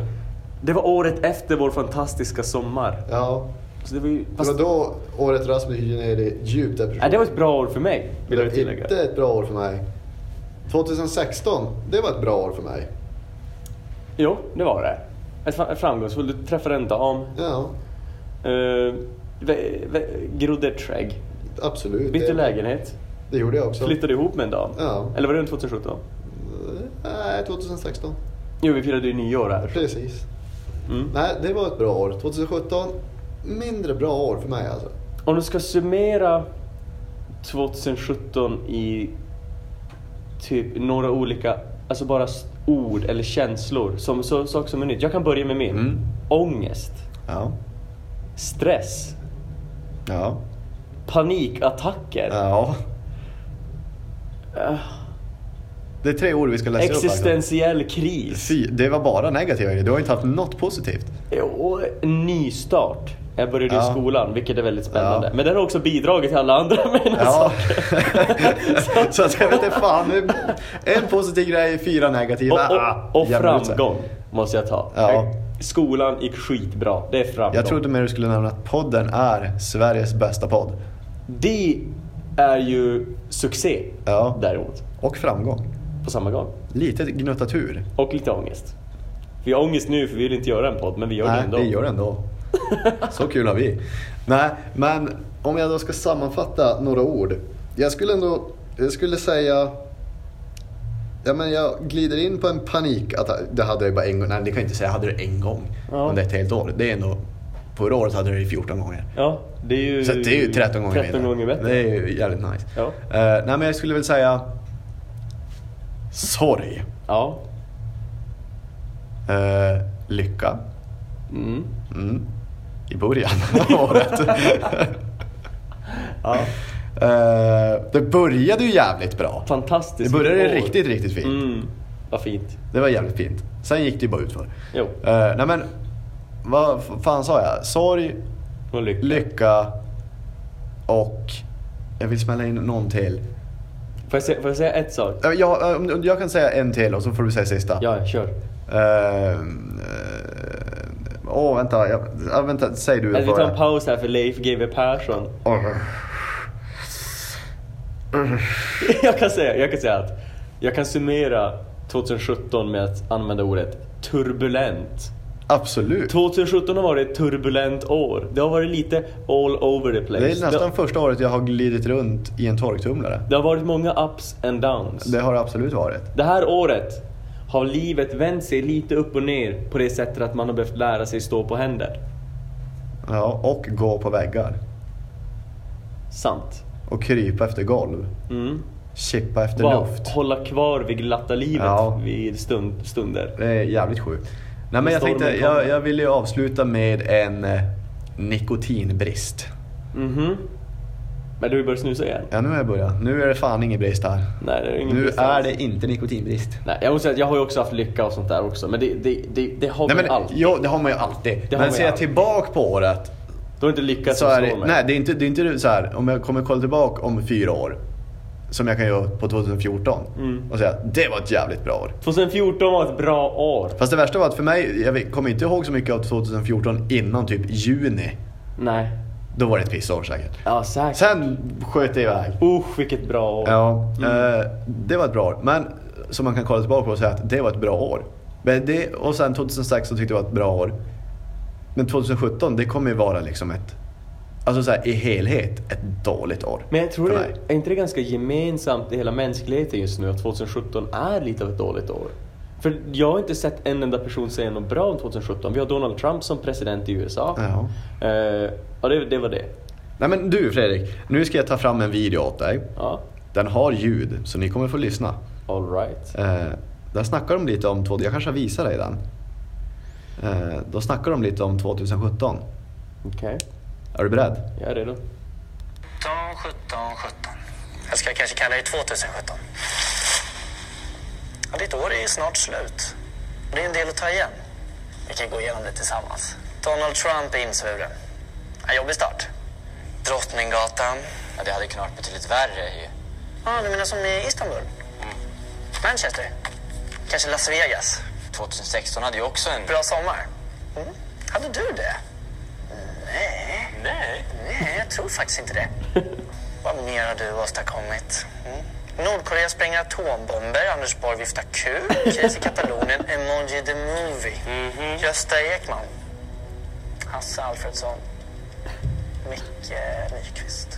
Det var året efter vår fantastiska sommar.
Ja.
Så det var ju...
Det
Fast...
var då året Rasmus gick ner i djup depression.
Nej, det var ett bra år för mig, vill
Men
jag tillägga.
inte ett bra år för mig. 2016, det var ett bra år för mig.
Jo, det var det. Ett fra- ett framgångsfullt. Du träffade en dam.
Ja,
Uh, ve- ve- grodde ett skägg.
absolut.
Bytte
Det-
lägenhet.
Det gjorde jag också.
Flyttade ihop med en dam.
Ja.
Eller var det runt 2017?
Nej, 2016.
Jo, vi firade ju nyår här.
Precis.
Mm.
Nej, det var ett bra år. 2017, mindre bra år för mig alltså.
Om du ska summera 2017 i typ några olika, alltså bara s- ord eller känslor, som så, saker som är nytt. Jag kan börja med min.
Mm.
Ångest,
ja,
stress,
ja,
panikattacker, Ah.
ja. Det är tre ord vi ska läsa upp.
existentiell
alltså.
kris
Fy, det var bara negativa grejer. Du har inte haft något positivt.
och nystart. Jag började
Ja.
i skolan, vilket är väldigt spännande.
Ja.
Men den har också bidragit till alla andra mina
Ja.
saker.
så att jag vet inte fan. En positiv grej, fyra negativa.
Och,
Ah,
och, och
jävla rutsa.
framgång måste jag ta.
Ja.
Skolan gick skitbra, det är framgång.
Jag trodde mer du skulle nämna att podden är Sveriges bästa podd.
Det är ju succé
Ja.
däremot,
Och framgång.
på samma gång.
Lite gnutta tur.
Och lite ångest. Vi har ångest nu för vi vill inte göra en podd, men vi gör det
Nej,
ändå.
vi gör det ändå. Så kul har vi. Nej, men
Om jag då ska sammanfatta några ord. Jag skulle ändå, jag skulle säga... Ja, men jag glider in på en panikattack.
det hade jag ju bara en gång. Nej, det kan jag inte säga. Jag hade det en gång
Ja.
under ett helt år. Det är ändå... Förra året hade jag det 14 gånger.
Ja, det är ju,
Så det är ju 13 gånger
13 gånger bättre.
Det är ju jävligt nice.
Ja.
Eh, nej, men jag skulle väl säga... Sorg.
Ja.
Eh, lycka.
Mm.
Mm. I början av året.
ja.
Eh, det började ju jävligt bra. Det
Fantastiskt.
började
år.
riktigt, riktigt fint.
Mm. Vad fint.
Det var jävligt fint. Sen gick det ju bara utför.
Jo,
Eh, nej men, vad f- fan sa jag? Sorg,
vad lyckligt.
lycka och... Jag vill smälla in någon till.
Får jag, säga, får jag säga ett sak?
Eh, Jag, eh, om- jag kan säga en till och så får du säga sista.
Ja, kör.
Eh, eh, Åh, vänta. Jag, ja, vänta. Säg du.
Eller vi
vad
tar
jag-
en paus här för Leif GW Persson.
Åh.
Jag kan, säga, jag kan säga att jag kan summera 2017 med att använda ordet turbulent.
Absolut.
2017 har varit ett turbulent år. Det har varit lite all over the place.
Det är nästan
det,
första året jag har glidit runt i en torktumlare.
det har varit många ups and downs.
Det
Det.
har det absolut varit.
här året har livet vänt sig lite upp och ner på det sättet att man har behövt lära sig stå på händer.
Ja, och gå på väggar.
Sant.
Och krypa efter golv.
Mm.
Chippa efter
Bara
luft.
hålla kvar vid glatta livet
Ja.
vid stund, stunder.
Det är jävligt sjukt. Nej, men jag,
Stormen
tänkte,
kommer.
jag, jag ville ju avsluta med en eh, nikotinbrist.
Mhm. Men du har ju börjat snusa igen.
Ja, nu har jag börjat. Nu är det fan ingen brist här.
Nej, det är ingen
Nu
brist
är
alls.
det inte nikotinbrist.
Nej, jag måste säga att jag har ju också haft lycka och sånt där också. Men det, det, det, det har
Nej,
vi
men,
allt.
jo, det har man ju alltid.
har
men
man
ser
ju
jag
alltid.
tillbaka på året
Du har inte lyckats
så
som
är det,
slår mig.
nej, det är inte, det är inte så här, om jag kommer kolla tillbaka om fyra år, som jag kan göra på 2014,
Mm.
och säga det var ett jävligt bra år.
2014 var ett bra år.
Fast det värsta var att för mig, jag vet- kommer inte ihåg så mycket av 2014 innan typ juni.
Nej.
Då var det ett pissår säkert.
Ja, säkert.
Sen sköt det iväg.
Usch, vilket bra år.
Ja, eh,
Mm.
det var ett bra år. Men som man kan kolla tillbaka på och säga att det var ett bra år. Men det, och sen 2006 så tyckte jag det var ett bra år. Men 2017, det kommer ju vara liksom ett... Alltså så här, i helhet, ett dåligt år.
Men jag tror
för
det,
mig.
är inte det ganska gemensamt i hela mänskligheten just nu att 2017 är lite av ett dåligt år? För jag har inte sett en enda person säga något bra om 2017. Vi har Donald Trump som president i USA.
Ja.
Eh, ja, det, det var det.
Nej men du Fredrik, nu ska jag ta fram en video åt dig.
Ja,
Den har ljud, så ni kommer få lyssna.
all right.
Eh, där snackar de lite om... två- Jag kanske visar dig den. Eh, då snackar de lite om 2017.
Okej,
Är du beredd?
jag är redo.
17, 17, 17. Jag ska kanske kalla det 2017. Ja, ditt år är ju snart slut. Det är en del att ta igen. Vi kan gå igenom det tillsammans. Donald Trump är insvuren. En jobbig start. Drottninggatan. Ja, det hade kunnat vara betydligt värre ju. Ja, du menar som i Istanbul? Manchester? Kanske Las Vegas? 2016 hade ju också en... Bra sommar? Mm. Hade du det? Nej. Nej? Nej, jag tror faktiskt inte det. Vad mer har du åstadkommit? Mm. Nordkorea spränger atombomber, Anders Borg viftar kul, kris i Katalonien, Emoji the Movie, Gösta Ekman, Hasse Alfredsson, Micke Nyqvist.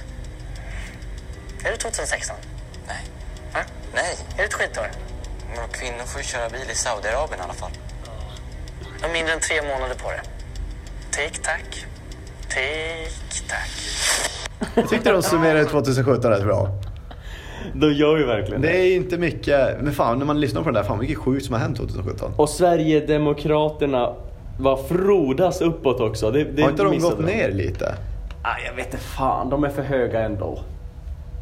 Är det 2016? Nej. Nej. Är det ett skitår? Men kvinnor får ju köra bil i Saudiarabien i alla fall. Jag har mindre än tre månader på det. Tick tack. Tick tack.
Jag tyckte de summerade 2017 rätt bra.
De gör ju verkligen
Det är inte mycket, men fan när man lyssnar på den där, fan mycket sjukt som har hänt 2017.
Och Sverigedemokraterna var frodas uppåt också. Det, det
Har inte de
missade
gått ner lite?
Ah, jag vet inte fan, de är för höga ändå.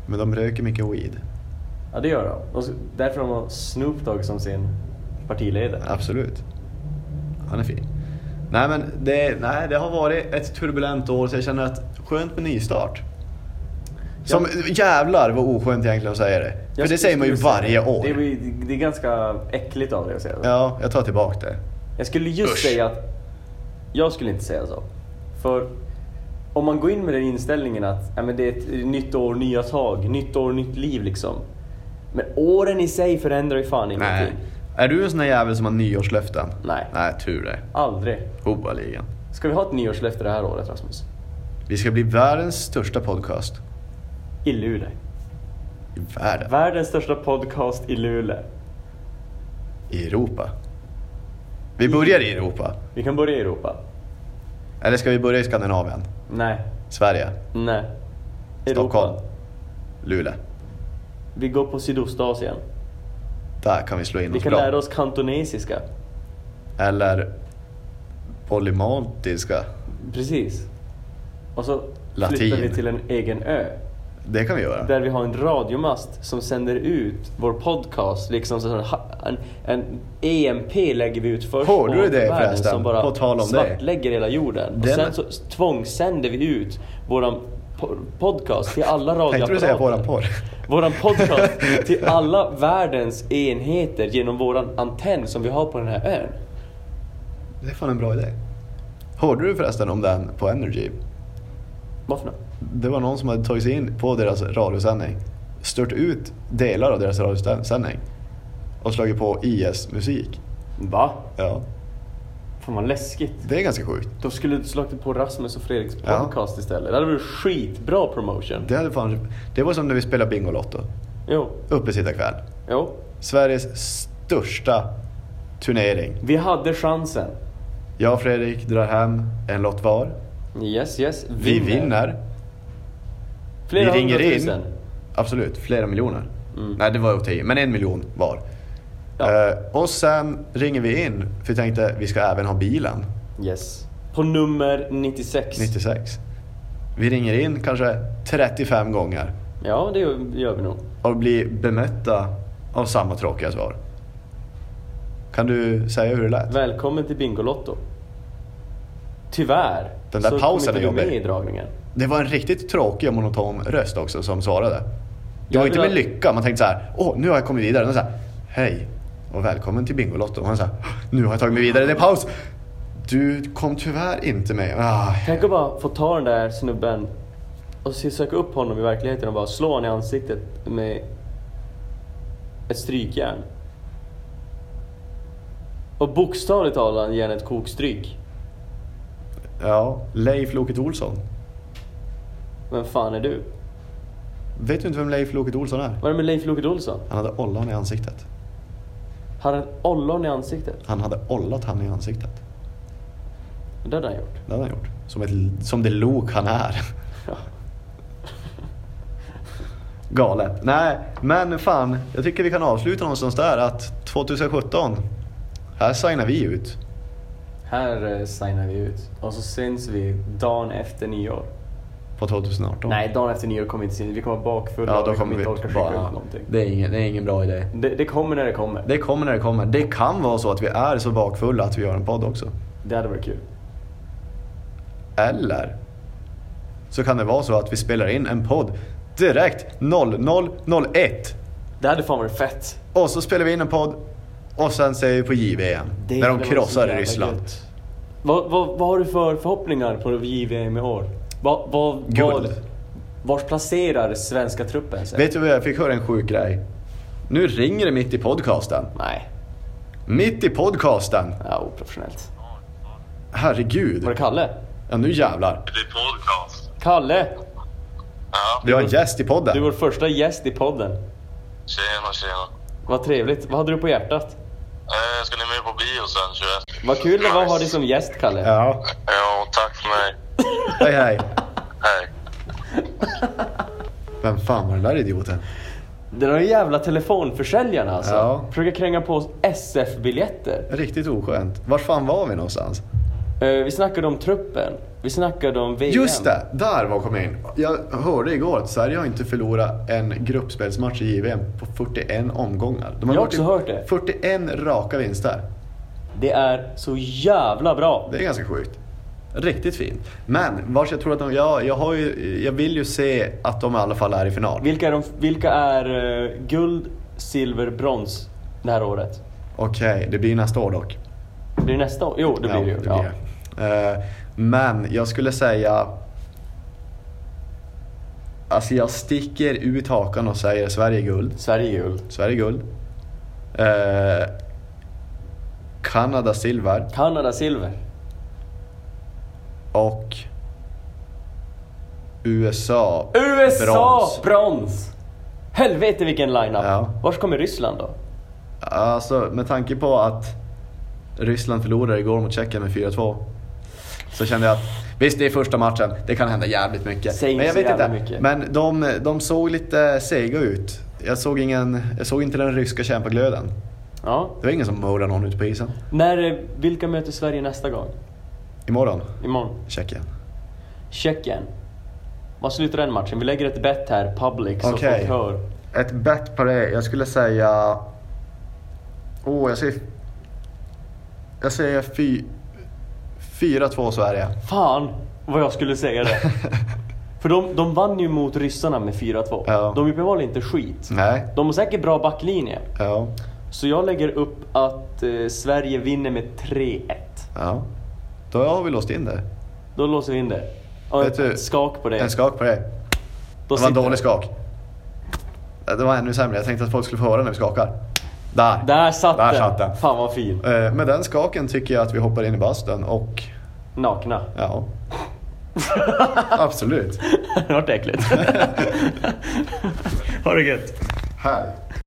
Men de röker mycket weed.
Ja, det gör de. Och så- därför har de Snoop Dogg som sin partiledare.
Absolut. Han är fin. Nej men det, nej, det har varit ett turbulent år så jag känner att skönt med nystart. Som jävlar vad oskönt egentligen att säga det. För
Jag
det säger man ju
skulle
varje
säga-
år.
Det är, ju- det är ganska äckligt av dig att säga så.
Ja, jag tar tillbaka det.
Jag skulle just
Usch.
säga att jag skulle inte säga så. För om man går in med den inställningen att ja, men det är ett nytt år, nya tag, nytt år, nytt liv liksom. Men åren i sig förändrar ju fan ingenting.
Nej. Är du en sån där jävel som har nyårslöften?
Nej.
Nej, tur det.
Aldrig.
Hoppaligan.
Ska vi ha ett nyårslöfte det här året Rasmus?
Vi ska bli världens största podcast.
I Luleå.
I världen.
Världens största podcast i Luleå.
I Europa. Vi börjar i Europa.
Vi kan börja i Europa.
Eller ska vi börja i Skandinavien?
Nej.
Sverige?
Nej.
Stockholm? Luleå?
Vi går på Sydostasien.
Där kan vi slå in
Vi
oss
kan
bra.
lära oss kantonesiska.
Eller polymaltiska.
Precis. Och så
Latin.
flyttar vi till en egen ö.
Det kan vi göra.
Där vi har en radiomast som sänder ut vår podcast. Liksom så här, en, en EMP lägger vi ut först
Hörde du
åt
det
världen
förresten?
som bara
På tal om det.
svartlägger hela jorden.
Den-
Och sen så tvångssänder vi ut våran po- podcast till alla radioapparater.
Tänkte du säga våran porr?
Våran podcast till alla världens enheter genom våran antenn som vi har på den här ön.
Det är fan en bra idé. Hörde du förresten om den på Energy?
Vad för något?
Det var någon som hade tagit sig in på deras radiosändning, stört ut delar av deras radiosändning och slagit på IS-musik.
Va?
Ja,
Fan vad läskigt.
det är ganska sjukt.
Då skulle du slagit på Rasmus och Fredriks
Ja.
podcast istället. Det hade varit skitbra promotion.
Det, hade fan, det var som när vi spelade Bingolotto,
Jo,
uppesittarkväll.
jo.
Sveriges största turnering.
Vi hade chansen.
Jag och Fredrik drar hem en lott var.
Yes, yes.
Vi vinner.
Flera
vi ringer in.
hundratusen.
Absolut, flera miljoner. Nej, det var upp till men en miljon var.
Ja.
Eh, och sen ringer vi in, för vi tänkte vi ska även ha bilen,
Yes. På nummer 96.
96. Vi ringer in kanske 35 gånger
Ja, det gör- gör vi nog.
och blir bemötta av samma tråkiga svar. Kan du säga hur det lät?
Välkommen till Bingolotto. Tyvärr
Den där
så
pausen
kom
är
inte du med
jobbig.
i dragningen.
Det var en riktigt tråkig och monoton röst också som svarade. Det
Jag
var
vill
inte med
ha-
lycka. Man tänkte så här, åh nu har jag kommit vidare. Och så här, hej och välkommen till Bingolotto. Och han så här, nu har jag tagit mig vidare. Det är paus. Du kom tyvärr inte med. Ah,
Tänk att bara få ta den där snubben och se- söka upp honom i verkligheten och bara slå honom i ansiktet med ett strykjärn. Och bokstavligt talat ge honom ett kokstryk.
ja, Leif Loket Olsson.
Vem fan är du?
Vet du inte vem Leif Loket Olsson är?
Vad är det med Leif Loket Olsson?
Han hade ollan i ansiktet.
Har han ett ollon i ansiktet?
Han hade ollat han i ansiktet.
Det hade han gjort.
Det hade han gjort. Som, ett, som det lok han är.
Ja.
Galet. Nej, men fan. Jag tycker vi kan avsluta någonstans där att 2017, här signar vi ut.
Här eh, signar vi ut och så syns vi dagen efter nyår.
på 2018.
Nej, dagen efter nyår kommer vi inte se Vi kommer vara bakfulla
ja,
och
då
vi kommer
kommer vi
inte orka skicka ut
bara...
någonting.
Det är, ingen, det är ingen bra idé.
Det, det kommer när det kommer.
Det kommer när det kommer. Det kan vara så att vi är så bakfulla att vi gör en podd också.
Det hade varit kul.
Eller så kan det vara så att vi spelar in en podd direkt 0001
Det hade fan varit fett.
och så spelar vi in en podd och sen ser vi på JVM
Det
när
hade
de
varit
krossar
så jävla
Ryssland.
gött. Vad, vad, vad har du för förhoppningar på JVM i år? Vad, vad,
Guld.
vad, vars placerar svenska truppen sig?
Vet du vad jag fick höra en sjuk grej? Nu ringer det mitt i podcasten.
Nej,
Mitt i podcasten!
ja, oprofessionellt.
Herregud.
Var det Kalle?
Ja nu jävlar.
Det är podcast.
Kalle!
Ja,
Vi har en gäst i
Du är
podden.
vår första gäst i podden.
tjena tjena.
Vad trevligt. Vad hade du på hjärtat?
Eh, ska ni med på bio sen 21?
Vad kul det var att ha dig som gäst, Kalle.
Ja,
Ja, tack för mig.
hej hej.
Hej.
Vem fan var den där idioten?
Det är de jävla telefonförsäljarna alltså.
Ja.
Försöker kränga på oss SF-biljetter.
Riktigt oskönt. Vart fan var vi någonstans?
Eh, vi snackade om truppen. Vi snackade om VM.
Just det, där var kom jag in. Jag hörde igår att Sverige har inte förlorat en gruppspelsmatch i JVM på 41 omgångar.
Jag
De
har
varit i
också hört det.
41 raka vinster.
Det är så jävla bra.
Det är ganska sjukt. Riktigt fint. Men vars jag tror att de... Ja, jag, har ju, jag vill ju se att de i alla fall är i final.
Vilka är, de, vilka är eh, guld, silver, brons det här året?
Okej, det blir nästa år dock.
Blir det nästa år? Jo, det blir
Ja,
det ju.
blir
ja.
det. Eh, Men jag skulle säga... Alltså jag sticker ut hakan och säger Sverige guld.
Sverige är guld.
Sverige guld. Eh, Kanada silver
Kanada silver.
och USA.
USA
Brons.
brons! Helvete vilken line-up.
Ja.
Vars kommer Ryssland då?
Alltså med tanke på att Ryssland förlorade igår mot Tjeckien med 4-2. Så kände jag att visst det är första matchen, det kan hända jävligt mycket.
Säg inte
men jag
så
vet
jävla
inte.
mycket.
Men de, de såg lite sega ut. Jag såg, ingen, jag såg inte den ryska kämpaglöden.
Ja.
Det var ingen som mördade någon ute på isen.
När, eh, vilka möter Sverige nästa gång?
Imorgon,
Imorgon?
Tjeckien.
Tjeckien. Vad slutar den matchen? Vi lägger ett bett här, public, så
Okej.
folk hör.
Ett bet på det. Jag skulle säga... Åh, jag säger... Jag säger fy... 4-2 Sverige.
Fan vad jag skulle säga det. För de, de vann ju mot ryssarna med 4-2.
Ja.
De är uppenbarligen inte skit.
Nej.
De har säkert bra backlinje.
Ja.
Så jag lägger upp att eh, Sverige vinner med 3-1.
Ja. Då har vi låst in det.
Då låser vi in det. Och
Vet du,
ett skak på det.
En skak på det.
Då
Det var en
sitter-
dålig skak. Det var ännu sämre. Jag tänkte att folk skulle få höra när vi skakar. Där!
Där satt
Där
den.
satt den.
Fan vad fin.
Eh, Med den skaken tycker jag att vi hoppar in i bastun och...
Nakna.
Ja. Absolut.
Det vart äckligt. ha det gött.
Här.